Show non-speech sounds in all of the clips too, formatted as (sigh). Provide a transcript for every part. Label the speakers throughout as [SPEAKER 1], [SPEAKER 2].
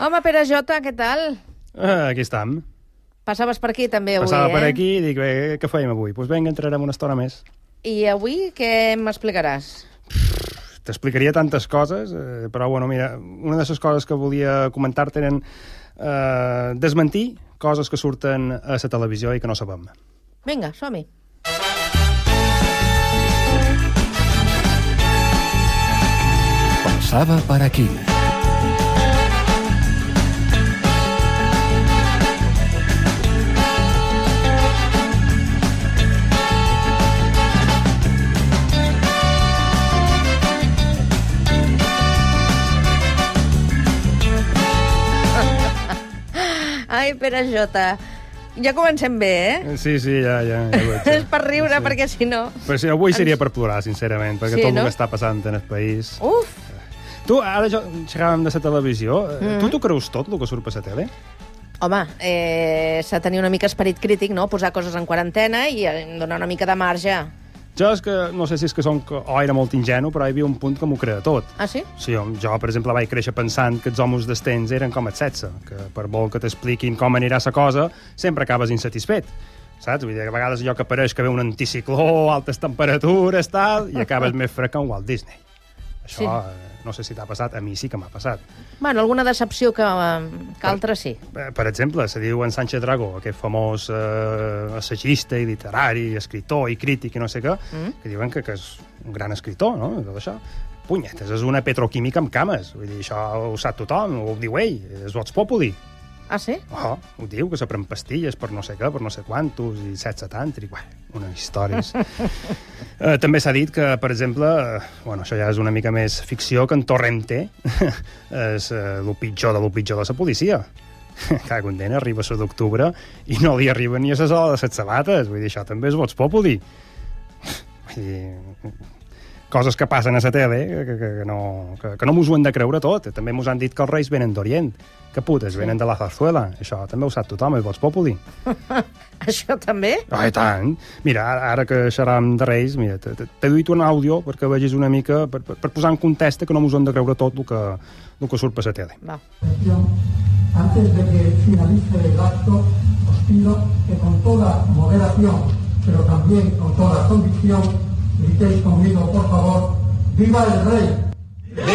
[SPEAKER 1] Home, Pere Jota, què tal?
[SPEAKER 2] Ah, aquí estam.
[SPEAKER 1] Passaves per aquí també avui,
[SPEAKER 2] Passava
[SPEAKER 1] eh?
[SPEAKER 2] per aquí i dic, bé, què fèiem avui? Doncs pues vinga, entrarem una estona més.
[SPEAKER 1] I avui què m'explicaràs?
[SPEAKER 2] T'explicaria tantes coses, eh, però bueno, mira, una de les coses que volia comentar-te eren eh, desmentir coses que surten a la televisió i que no sabem.
[SPEAKER 1] Vinga, som-hi.
[SPEAKER 3] Passava per aquí.
[SPEAKER 1] Ai, Pere Jota, ja comencem bé, eh?
[SPEAKER 2] Eh, Sí, sí, ja, ja. ja ho veig,
[SPEAKER 1] És
[SPEAKER 2] eh?
[SPEAKER 1] per riure,
[SPEAKER 2] Sí.
[SPEAKER 1] perquè si no...
[SPEAKER 2] Però sí, avui seria per plorar, sincerament,
[SPEAKER 1] Sí,
[SPEAKER 2] perquè sí, tot
[SPEAKER 1] no?
[SPEAKER 2] el que està passant en el país...
[SPEAKER 1] Uf!
[SPEAKER 2] Tu, ara jo xerràvem de la televisió, mm -hmm. tu t'ho creus tot, el que surt per la tele?
[SPEAKER 1] Home, eh, s'ha de tenir una mica esperit crític, no? Posar coses en quarantena i eh, donar una mica de marge.
[SPEAKER 2] Jo és que, no sé si és que som... o era molt ingenu, però hi havia un punt que m'ho creia tot.
[SPEAKER 1] Ah, sí?
[SPEAKER 2] Sí, home, jo, per exemple, vaig créixer pensant que els homes d'estens eren com el sexe, que per molt que t'expliquin com anirà la cosa, sempre acabes insatisfet. Saps? Vull dir, que a vegades allò que apareix que ve un anticicló, altes temperatures, tal, i acabes més fred que un Walt Disney. Això,
[SPEAKER 1] Sí.
[SPEAKER 2] eh, no sé si t'ha passat, a mi sí que m'ha passat.
[SPEAKER 1] Bueno, alguna decepció que, eh, que altra sí.
[SPEAKER 2] Eh, Per exemple, se diu en Sánchez Dragó, aquest famós eh, assagista i literari, i escritor i crític i no sé què, mm. que diuen que, que és un gran escritor, no?, i tot això. Punyetes, és una petroquímica amb cames. Vull dir, això ho sap tothom, ho diu ell, és Vox Populi.
[SPEAKER 1] Ah, sí?
[SPEAKER 2] Oh, ho diu, que s'aprèn pastilles per no sé què, per no sé quantos, i sexe tàntric, bueno, unes històries. eh, també s'ha dit que, per exemple, eh, bueno, això ja és una mica més ficció, que en Torrente (laughs) és eh, el pitjor de lo pitjor de la policia. (laughs) Cada condena arriba a d'octubre i no li arriba ni a la sola de set sabates. Vull dir, això també és vots populi. (laughs) Vull dir, coses que passen a la tele eh, que, que, que no, que, que no mos ho hem de creure tot. També mos han dit que els reis venen d'Orient, que putes, venen de la Zarzuela. Això també ho sap tothom, és Vox Populi.
[SPEAKER 1] Això també?
[SPEAKER 2] Ah, i tant! Mira, ara, ara que xerram de reis, mira, t'he- t'he t'he duit un àudio perquè vegis una mica, per, per, per posar en context que no mos ho hem de creure tot el que, el que surt per la tele.
[SPEAKER 1] Va.
[SPEAKER 4] Yo, antes de que finalice el acto, os pido que con toda moderación, pero también con toda convicción, gritéis conmigo, por favor, ¡Viva el Rey!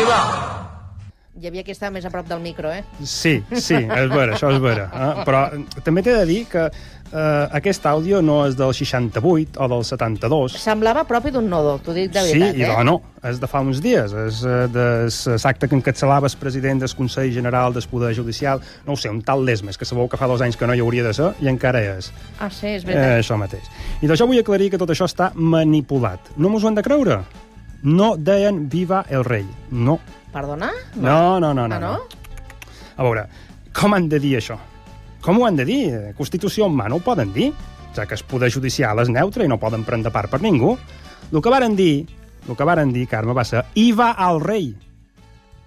[SPEAKER 1] Hi havia qui estava més a prop del micro, eh?
[SPEAKER 2] Sí, sí, és vera, això és vera. Eh? Però eh, també t'he de dir que eh, aquest àudio no és del 68 o del 72,
[SPEAKER 1] Semblava propi d'un nodo, t'ho dic de
[SPEAKER 2] sí,
[SPEAKER 1] veritat,
[SPEAKER 2] i
[SPEAKER 1] eh?
[SPEAKER 2] no, no, és de fa uns dies, és eh, de s- l'acte que encatçalava el president del Consell General del Poder Judicial, no ho sé, un tal Lesmes, que sabeu que fa dos anys que no hi hauria de ser, i encara és.
[SPEAKER 1] Ah, sí, és
[SPEAKER 2] Eh,
[SPEAKER 1] veritat.
[SPEAKER 2] això mateix. I d'això vull aclarir que tot això està manipulat. No mos ho han de creure. No deien viva el rei. No.
[SPEAKER 1] Perdona?
[SPEAKER 2] No, no, no, no.
[SPEAKER 1] Ah, no?
[SPEAKER 2] A veure, com han de dir això? Com ho han de dir? Constitució en mà no ho poden dir, ja que el poder judicial és neutre i no poden prendre part per ningú. El que varen dir, el que varen dir, Carme, va ser IVA al rei.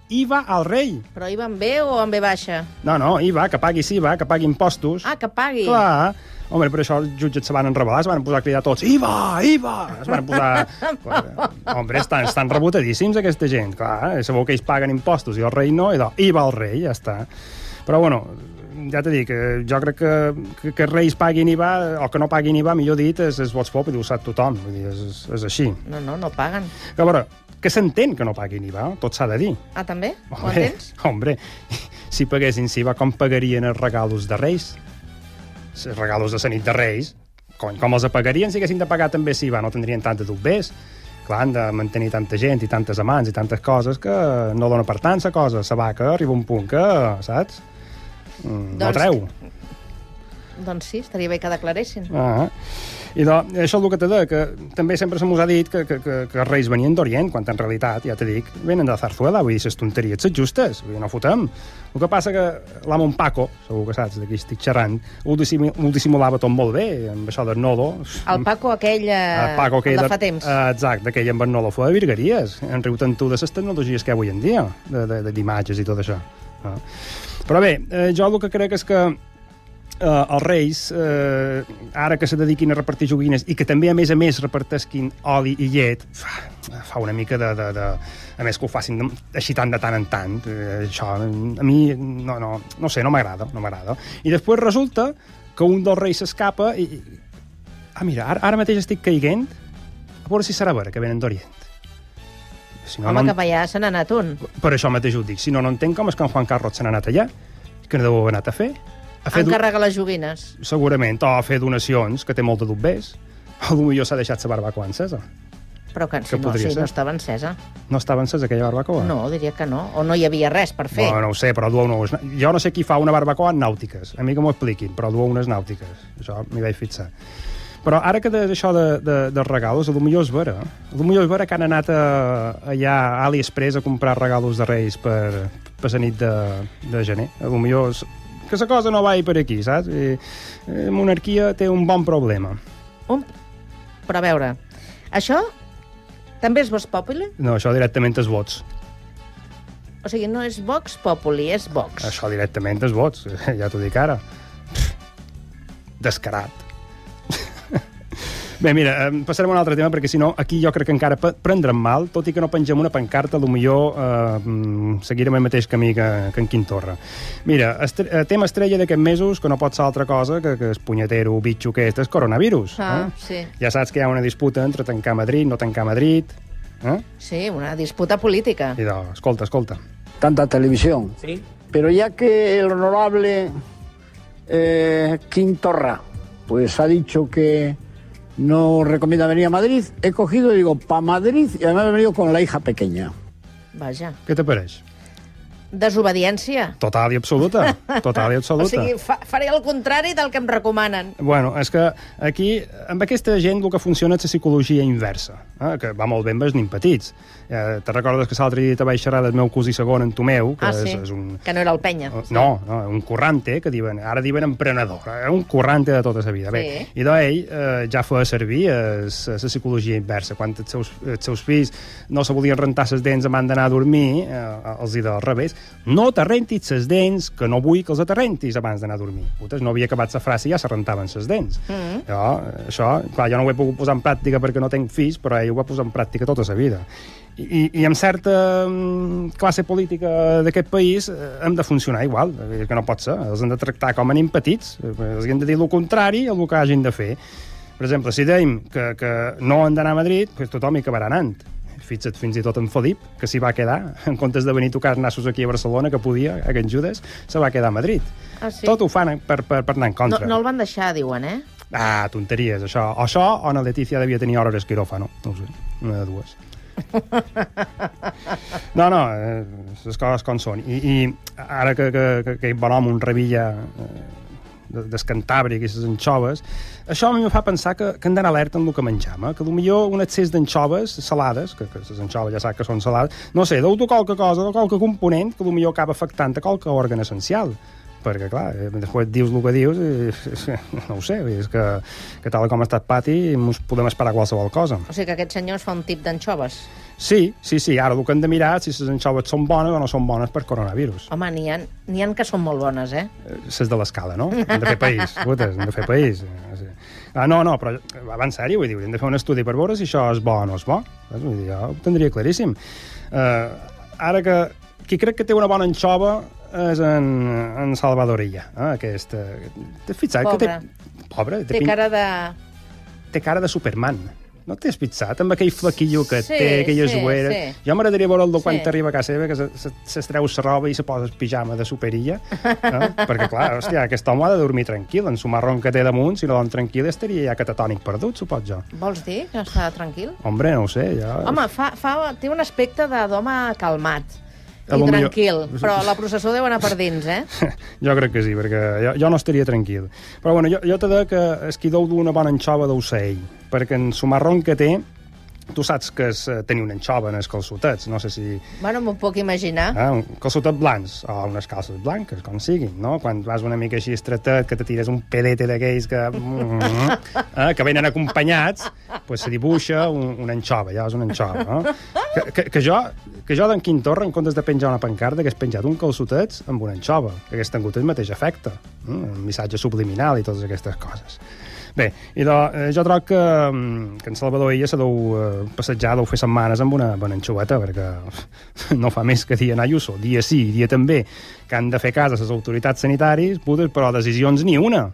[SPEAKER 2] IVA al rei.
[SPEAKER 1] Però hi va amb B o amb B baixa?
[SPEAKER 2] No, no, IVA, que pagui IVA, que pagui impostos.
[SPEAKER 1] Ah, que pagui.
[SPEAKER 2] Clar. Home, per això els jutges se van enrebelar, es van posar a cridar tots, IVA, IVA! Es van posar... Hombre, estan, estan rebotadíssims, aquesta gent. Clar, Eh, sabeu que ells paguen impostos i el rei no, i doncs, IVA el rei, ja està. Però, bueno, ja t'he dit, que jo crec que, que, que els reis paguin IVA, o que no paguin IVA, millor dit, és, és Vox Pop, i ho sap tothom, vull dir, és, és, és així.
[SPEAKER 1] No, no, no paguen.
[SPEAKER 2] Que, a veure, que s'entén que no paguin IVA, tot s'ha de dir.
[SPEAKER 1] Ah, també? Ho
[SPEAKER 2] Hombre,
[SPEAKER 1] entens?
[SPEAKER 2] (laughs) hombre, si paguessin IVA, com pagarien els regalos de Reis? Els regalos de la nit de Reis, cony, com els apagarien si haguessin de pagar també IVA? No tindrien tants dubbers. Clar, han de mantenir tanta gent i tantes amants i tantes coses que no dona per tant la cosa. La vaca arriba un punt que, saps? Mm, No
[SPEAKER 1] Doncs-
[SPEAKER 2] treu.
[SPEAKER 1] Doncs sí, estaria bé que declaressin.
[SPEAKER 2] Ah. I de, això és el que t'he de, que també sempre se mos ha dit que, que, que, que els reis venien d'Orient, quan en realitat, ja t'he dic, venen de Zarzuela, vull dir, les tonteries les justes, vull dir, no fotem. El que passa que l'amo en Paco, segur que saps de qui estic xerrant, ho, dissimu, ho dissimulava tot molt bé, amb això del nodo.
[SPEAKER 1] El Paco aquell, eh,
[SPEAKER 2] Ah, El Paco aquell
[SPEAKER 1] el de fa temps.
[SPEAKER 2] eh, Exacte, aquell amb el nodo fora de virgueries. En riu tant tu de les tecnologies que hi ha avui en dia, de- de- de- d'imatges i tot això. Ah. Però bé, eh, jo el que crec és que eh, els reis, eh, ara que se dediquin a repartir joguines i que també, a més a més, repartesquin oli i llet, fa, fa una mica de, de, de... A més, que ho facin de- així tant de tant en tant. Eh, això a mi no, no, no ho sé, no m'agrada, no m'agrada. I després resulta que un dels reis s'escapa i... i- Ah, mira, ara, ara mateix estic caiguent. A veure si serà vera, que venen d'Orient. Si
[SPEAKER 1] Home,
[SPEAKER 2] en-
[SPEAKER 1] cap allà se n'ha anat un.
[SPEAKER 2] per això mateix ho dic. Si no, no entenc com és que en Juan Carlos se n'ha anat allà. Que no deu haver anat a fer. Ha fet,
[SPEAKER 1] Encarrega les joguines.
[SPEAKER 2] segurament, o a fer donacions, que té molt de dubbers. O potser s'ha deixat la barbacoa encesa.
[SPEAKER 1] Però que,
[SPEAKER 2] Que
[SPEAKER 1] si no,
[SPEAKER 2] podria
[SPEAKER 1] si
[SPEAKER 2] ser.
[SPEAKER 1] no estava encesa.
[SPEAKER 2] No estava encesa aquella barbacoa?
[SPEAKER 1] No, diria que no. O no hi havia res per fer.
[SPEAKER 2] Bueno, no ho sé, però duo unes... Jo no sé qui fa una barbacoa en nàutiques. A mi que m'ho expliquin, però duo unes nàutiques. Això m'hi vaig fixar. Però ara que de- d'això de, de, dels regalos, a lo millor és vera. A lo millor és vera que han anat a, allà a AliExpress a comprar regalos de Reis per, per la nit de, de gener. A lo millor és, que la cosa no vagi per aquí, saps? I, eh, monarquia té un bon problema.
[SPEAKER 1] Um, però a veure, això també és Vox Populi?
[SPEAKER 2] No, això directament és vots.
[SPEAKER 1] O sigui, no és Vox Populi, és Vox.
[SPEAKER 2] Això directament és vots, (laughs) ja t'ho dic ara. Descarat. (laughs) Bé, mira, eh, passarem a un altre tema, perquè si no, aquí jo crec que encara pe- prendran mal, tot i que no pengem una pancarta, millor eh, mm, seguirem el mateix camí que, que en Quim Torra. Mira, estre eh, tema estrella d'aquests mesos, que no pot ser altra cosa que, que es punyetero bitxo que és, és coronavirus.
[SPEAKER 1] Ah,
[SPEAKER 2] eh?
[SPEAKER 1] sí.
[SPEAKER 2] Ja saps que hi ha una disputa entre tancar Madrid, no tancar Madrid... Eh?
[SPEAKER 1] Sí, una disputa política.
[SPEAKER 2] I doncs, escolta, escolta.
[SPEAKER 3] tanta televisión.
[SPEAKER 5] Sí,
[SPEAKER 3] Pero ya que el honorable eh, Quintorra pues ha dicho que no recomienda venir a Madrid, he cogido y digo, pa' Madrid, y además he venido con la hija pequeña.
[SPEAKER 1] Vaja.
[SPEAKER 2] Què t'apareix?
[SPEAKER 1] Desobediència.
[SPEAKER 2] Total i
[SPEAKER 1] (laughs)
[SPEAKER 2] absoluta. Total i absoluta.
[SPEAKER 1] O sigui, fa, faré el contrari del que em recomanen.
[SPEAKER 2] Bueno, és que aquí, amb aquesta gent, el que funciona és la psicologia inversa, eh? que va molt bé amb els nin petits. Eh, te recordes que l'altre dia te vaig xerrar del meu cosí segon, en Tomeu, que
[SPEAKER 1] Ah, sí?
[SPEAKER 2] és, és un... Oh,
[SPEAKER 1] Que no era el penya.
[SPEAKER 2] No, no, un currante, que diuen, ara diuen emprenedor, eh? un currante de tota la vida. Bé,
[SPEAKER 1] Sí.
[SPEAKER 2] I doncs ell eh, ja feia servir la psicologia inversa. Quan els seus, els seus fills no se volien rentar les dents abans d'anar a dormir, eh, els hi del revés, no t'arrentis les dents, que no vull que els aterrentis abans d'anar a dormir. Putes, no havia acabat la frase i ja se rentaven les dents. Mm. Jo, eh, això, clar, jo no ho he pogut posar en pràctica perquè no tenc fills, però ell ho va posar en pràctica tota la vida. I, i, i amb certa mm, classe política d'aquest país eh, hem de funcionar igual, eh, que no pot ser. Els hem de tractar com a nen petits, eh, els hem de dir el contrari al que hagin de fer. Per exemple, si dèiem que, que no han d'anar a Madrid, doncs tothom hi acabarà anant. Fixa't fins i tot en Felip, que s'hi va quedar, (laughs) en comptes de venir a tocar nassos aquí a Barcelona, que podia, a Can Judes, se va quedar a Madrid.
[SPEAKER 1] Ah, sí?
[SPEAKER 2] Tot ho fan per, per, per anar en
[SPEAKER 1] No,
[SPEAKER 2] contra.
[SPEAKER 1] no el van deixar, diuen, eh?
[SPEAKER 2] Ah, tonteries, això. O això, o na Letícia devia tenir hores quiròfano. No ho sé, una de dues. No, no, eh, les coses com són. I, i ara que, que, que aquest bon home, un revilla eh, de- d'escantàbric i les anxoves, això a mi em fa pensar que, que hem d'anar alerta amb el que mengem, eh? que potser un excés d'anxoves salades, que, que les anxoves ja sap que són salades, no sé, deu a qualque cosa, deu qualque component que potser acaba afectant a qualque òrgan essencial perquè, clar, eh, després dius el que dius i, (laughs) no ho sé, és que, que tal com està el pati ens podem esperar qualsevol cosa.
[SPEAKER 1] O sigui que aquest senyor es fa un tip d'anxoves.
[SPEAKER 2] Sí, sí, sí, ara el que hem de mirar és si les anxoves són bones o no són bones per coronavirus.
[SPEAKER 1] Home, n'hi ha, n'hi ha que són molt bones, eh?
[SPEAKER 2] Les de l'escala, no? Hem de fer país, putes, hem de fer país. Sí. Ah, no, no, però va en sèrio, vull dir, hem de fer un estudi per veure si això és bo o no és bo. Saps? Vull dir, jo ho tindria claríssim. Uh, ara que qui crec que té una bona anxova és en, en Salvador Illa, eh? aquest... eh, T'has fixat
[SPEAKER 1] Pobre.
[SPEAKER 2] que té... Pobre.
[SPEAKER 1] Té
[SPEAKER 2] pin-
[SPEAKER 1] cara de...
[SPEAKER 2] té cara de Superman. No t'has fixat amb aquell flaquillo que
[SPEAKER 1] Sí,
[SPEAKER 2] té, aquelles
[SPEAKER 1] sí,
[SPEAKER 2] ueres?
[SPEAKER 1] sí.
[SPEAKER 2] Jo m'agradaria veure'l de quan
[SPEAKER 1] Sí.
[SPEAKER 2] t'arriba a casa seva, que se- se- s'estreu la roba i se posa el pijama de superilla.
[SPEAKER 1] (laughs)
[SPEAKER 2] No? Perquè, clar, hòstia, aquest home ha de dormir tranquil, en su marron que té damunt, si no dorm tranquil estaria ja catatònic perdut, supos jo.
[SPEAKER 1] Vols dir que està tranquil?
[SPEAKER 2] Hombre, no ho sé, ja...
[SPEAKER 1] Home, fa, fa, té un aspecte de- d'home calmat i
[SPEAKER 2] A lo millor-
[SPEAKER 1] tranquil, però la processó deu anar per dins, eh?
[SPEAKER 2] (laughs) jo crec que sí, perquè jo, jo no estaria tranquil. Però bueno, jo, jo t'he de dir que esquidou d'una bona anxova d'ocell, perquè en su marron que té Tu saps que és eh, tenir una anxova en els calçotets, no sé si...
[SPEAKER 1] Bueno, m'ho puc imaginar.
[SPEAKER 2] Eh, un calçotet blancs, o unes calces blanques, com siguin, no? Quan vas una mica així estretet, que te tires un pedete d'aquells que... Mm eh, que venen acompanyats, pues se dibuixa un, una anxova, ja és una anxova, no? Que, que, que jo, que jo d'en Quim Torra, en comptes de penjar una pancarta, hagués penjat un calçotets amb una anxova, que hagués tingut el mateix efecte, mm, un missatge subliminal i totes aquestes coses. Bé, i de, eh, jo trobo que, mm, que en Salvador Illa se deu eh, passejar, deu fer setmanes amb una bona anxoveta, perquè (laughs) no fa més que dir en Ayuso, dia sí, dia també, que han de fer cas a les autoritats sanitàries, putes, però decisions ni una.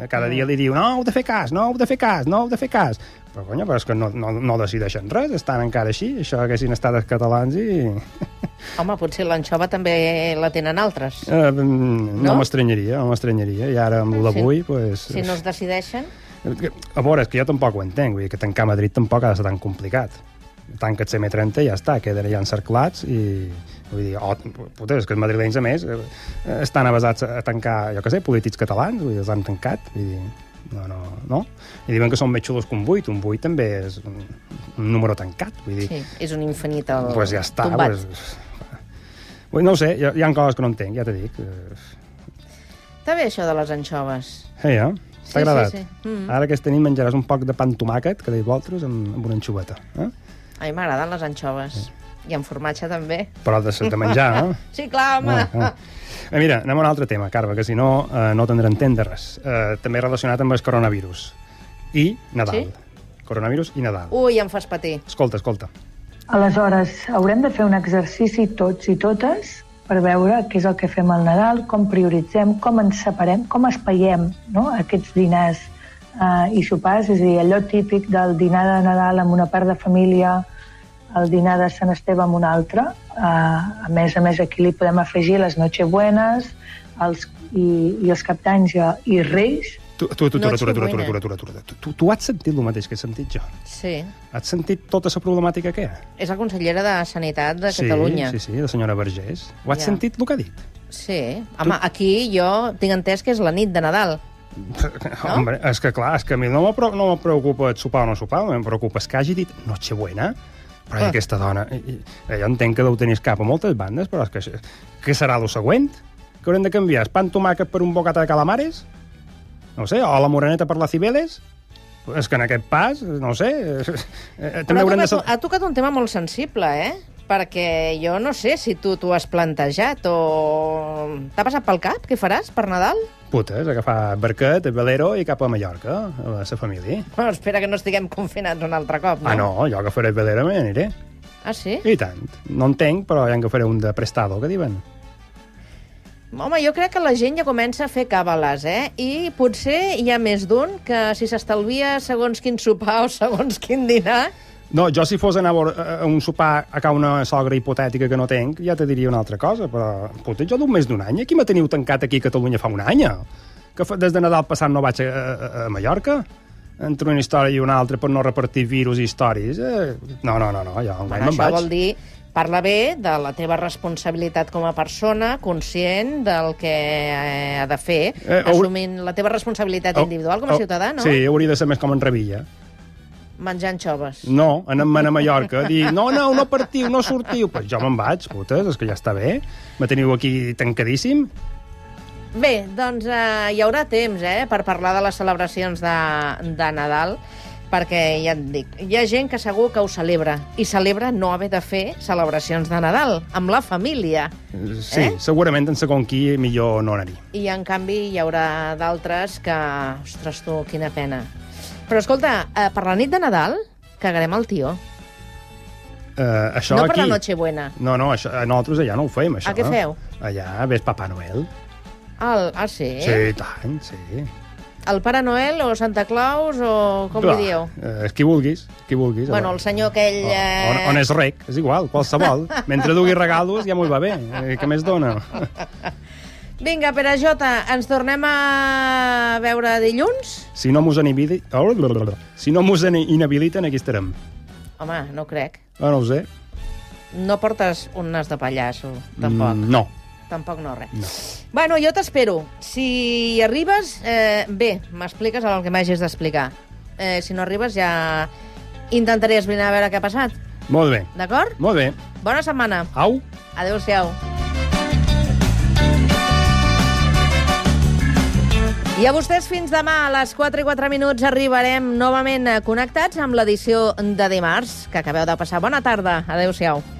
[SPEAKER 2] Eh, Cada dia li diu, no, heu de fer cas, no, heu de fer cas, no, heu de fer cas. Però, conya, però és que no, no, no decideixen res, estan encara així, això haguessin estat els catalans i... (laughs)
[SPEAKER 1] Home, potser l'anxova també la tenen altres.
[SPEAKER 2] Eh, no
[SPEAKER 1] No?
[SPEAKER 2] no? m'estranyaria, no m'estranyaria. I ara amb l'avui, sí. pues,
[SPEAKER 1] Si no es decideixen...
[SPEAKER 2] A veure, és que jo tampoc ho entenc, vull dir que tancar Madrid tampoc ha de ser tan complicat. Tanca el CM30 i ja està, queden allà encerclats i... Vull dir, oh, puta, és que els madrilenys, a més, eh, estan avasats a tancar, jo què sé, polítics catalans, vull dir, els han tancat, vull dir, no, no, no. I diuen que són més xulos que un buit, un buit també és un, un número tancat, vull dir,
[SPEAKER 1] Sí, és un infinit el
[SPEAKER 2] pues Doncs ja està.
[SPEAKER 1] tombat.
[SPEAKER 2] Pues, Vull- no ho sé, hi ha, hi ha coses que no entenc, ja t'he dit. Eh,
[SPEAKER 1] Està bé, això de les anxoves.
[SPEAKER 2] Hey, eh?
[SPEAKER 1] Sí, sí,
[SPEAKER 2] T'ha agradat?
[SPEAKER 1] sí. Mhm.
[SPEAKER 2] Ara aquesta nit menjaràs un poc de pa amb tomàquet, que deia vosaltres, amb, amb una anxoveta. Eh?
[SPEAKER 1] A mi m'agraden les anxoves. I amb formatge també.
[SPEAKER 2] Però ha de ser de menjar, eh?
[SPEAKER 1] Sí, clar, (laughs) home.
[SPEAKER 2] Ah, ah. Eh, Mira, anem a un altre tema, Carme, que si no, eh, no tindrem temps de res. Eh, també relacionat amb el coronavirus. I Nadal. Sí? Coronavirus i Nadal.
[SPEAKER 1] Ui, em fas patir.
[SPEAKER 2] Escolta, escolta.
[SPEAKER 5] Aleshores, haurem de fer un exercici tots i totes per veure què és el que fem al Nadal, com prioritzem, com ens separem, com espaiem no? aquests dinars eh, i sopars, és a dir, allò típic del dinar de Nadal amb una part de família, el dinar de Sant Esteve amb una altra. Eh, a més a més, aquí li podem afegir les Nochebuenas els, i, i els captanys i, i Reis,
[SPEAKER 2] Tu, tu, tu, atura,
[SPEAKER 1] Noche
[SPEAKER 2] atura, atura,
[SPEAKER 1] buena.
[SPEAKER 2] atura, atura, atura. Tu, tu, tu has sentit el mateix que he sentit jo?
[SPEAKER 1] Sí.
[SPEAKER 2] Has sentit tota la problemàtica que hi ha?
[SPEAKER 1] És la consellera de Sanitat de Catalunya.
[SPEAKER 2] Sí, sí, sí, la senyora Vergés. Ho has
[SPEAKER 1] Ja.
[SPEAKER 2] ja. sentit, el que ha dit?
[SPEAKER 1] sí. Home, aquí jo tinc entès que és la nit de Nadal.
[SPEAKER 2] No? Hombre, és que clar, és que a mi no me, preo- no me preocupa et sopar o no sopar, em preocupa és que hagi dit Nochebuena, però ah.
[SPEAKER 1] Ah.
[SPEAKER 2] aquesta dona... i- i- eh, Jo entenc que deu tenir cap a moltes bandes, però és que... això- Què serà el següent? Que haurem de canviar el pa amb tomàquet per un bocata de calamares? No ho sé, o la moreneta per la cibeles? És que en aquest pas, no ho sé... eh, Eh,
[SPEAKER 1] Però
[SPEAKER 2] també
[SPEAKER 1] ha
[SPEAKER 2] haurem de...
[SPEAKER 1] tocat,
[SPEAKER 2] sa-
[SPEAKER 1] ha tocat un tema molt sensible, eh? Perquè jo no sé si tu t'ho has plantejat o... T'ha passat pel cap? Què faràs per Nadal?
[SPEAKER 2] Putes, agafar barquet, velero i cap a Mallorca, a la sa família.
[SPEAKER 1] Bueno, espera que no estiguem confinats un altre cop, no?
[SPEAKER 2] Ah, no, jo agafaré el velero i me n'aniré.
[SPEAKER 1] Ah, sí?
[SPEAKER 2] I tant. No entenc, però ja en agafaré un de prestado, que diuen.
[SPEAKER 1] Home, jo crec que la gent ja comença a fer càbales, eh? I potser hi ha més d'un que si s'estalvia segons quin sopar o segons quin dinar...
[SPEAKER 2] No, jo si fos anar a, veure, a un sopar a ca una sogra hipotètica que no tenc, ja te diria una altra cosa, però... Puta, jo d'un més d'un any, aquí me teniu tancat aquí a Catalunya fa un any. Que fa, des de Nadal passat no vaig a, a, a Mallorca? Entre una història i una altra per no repartir virus i històries. Eh? No, no, no, no, jo un any
[SPEAKER 1] Bueno,
[SPEAKER 2] me'n
[SPEAKER 1] això
[SPEAKER 2] vaig.
[SPEAKER 1] vol dir parla bé de la teva responsabilitat com a persona, conscient del que eh, ha de fer, eh,
[SPEAKER 2] Eh, haur-
[SPEAKER 1] assumint la teva responsabilitat
[SPEAKER 2] Au-
[SPEAKER 1] individual com a
[SPEAKER 2] au-
[SPEAKER 1] ciutadà, no?
[SPEAKER 2] Oh, Sí, hauria de ser més com en Revilla.
[SPEAKER 1] Menjant xoves.
[SPEAKER 2] No, anem-me'n a Mallorca a dir, no, no, no partiu, no sortiu. Pues jo me'n vaig, putes, és que ja està bé. Me teniu aquí tancadíssim.
[SPEAKER 1] Bé, doncs eh, hi haurà temps eh, per parlar de les celebracions de, de Nadal, perquè ja et dic, hi ha gent que segur que ho celebra, i celebra no haver de fer celebracions de Nadal, amb la família.
[SPEAKER 2] Sí,
[SPEAKER 1] Eh?
[SPEAKER 2] eh? segurament en segon qui millor no anar-hi.
[SPEAKER 1] I, en canvi, hi haurà d'altres que... Ostres, tu, quina pena. Però, escolta, eh, per la nit de Nadal cagarem el tio.
[SPEAKER 2] Uh, això
[SPEAKER 1] no
[SPEAKER 2] aquí...
[SPEAKER 1] per la Nochebuena.
[SPEAKER 2] No, no, això, eh, nosaltres allà no ho fem, això.
[SPEAKER 1] Ah, què feu?
[SPEAKER 2] Allà ves Papà Noel.
[SPEAKER 1] El, ah, sí?
[SPEAKER 2] Sí, i tant, sí.
[SPEAKER 1] El Pare Noel o Santa Claus o com
[SPEAKER 2] Clar,
[SPEAKER 1] li dieu?
[SPEAKER 2] Eh, és qui vulguis, qui vulguis.
[SPEAKER 1] Bueno, el senyor aquell... eh,
[SPEAKER 2] On, on és rec, és igual,
[SPEAKER 1] (laughs)
[SPEAKER 2] qualsevol. Mentre dugui regalos ja m'ho va bé. Eh, què més dona?
[SPEAKER 1] Vinga, Pere Jota, ens tornem a veure dilluns?
[SPEAKER 2] Si no mos, inhibidi... oh, blablabla. si no mos inhabiliten, aquí estarem.
[SPEAKER 1] Home, no crec.
[SPEAKER 2] Ah, no ho sé.
[SPEAKER 1] No portes un nas de pallasso, tampoc.
[SPEAKER 2] Mm, no.
[SPEAKER 1] Tampoc no res. No. Bueno, jo t'espero. Si hi arribes, eh, bé, m'expliques el que m'hagis d'explicar. Eh, si no arribes, ja intentaré esbrinar a veure què ha passat.
[SPEAKER 2] Molt bé.
[SPEAKER 1] D'acord?
[SPEAKER 2] Molt bé.
[SPEAKER 1] Bona setmana.
[SPEAKER 2] Au.
[SPEAKER 1] Adéu-siau. I a vostès fins demà a les 4 i 4 minuts eh, arribarem novament connectats amb l'edició de dimarts, que acabeu de passar. Bona tarda. Adéu-siau.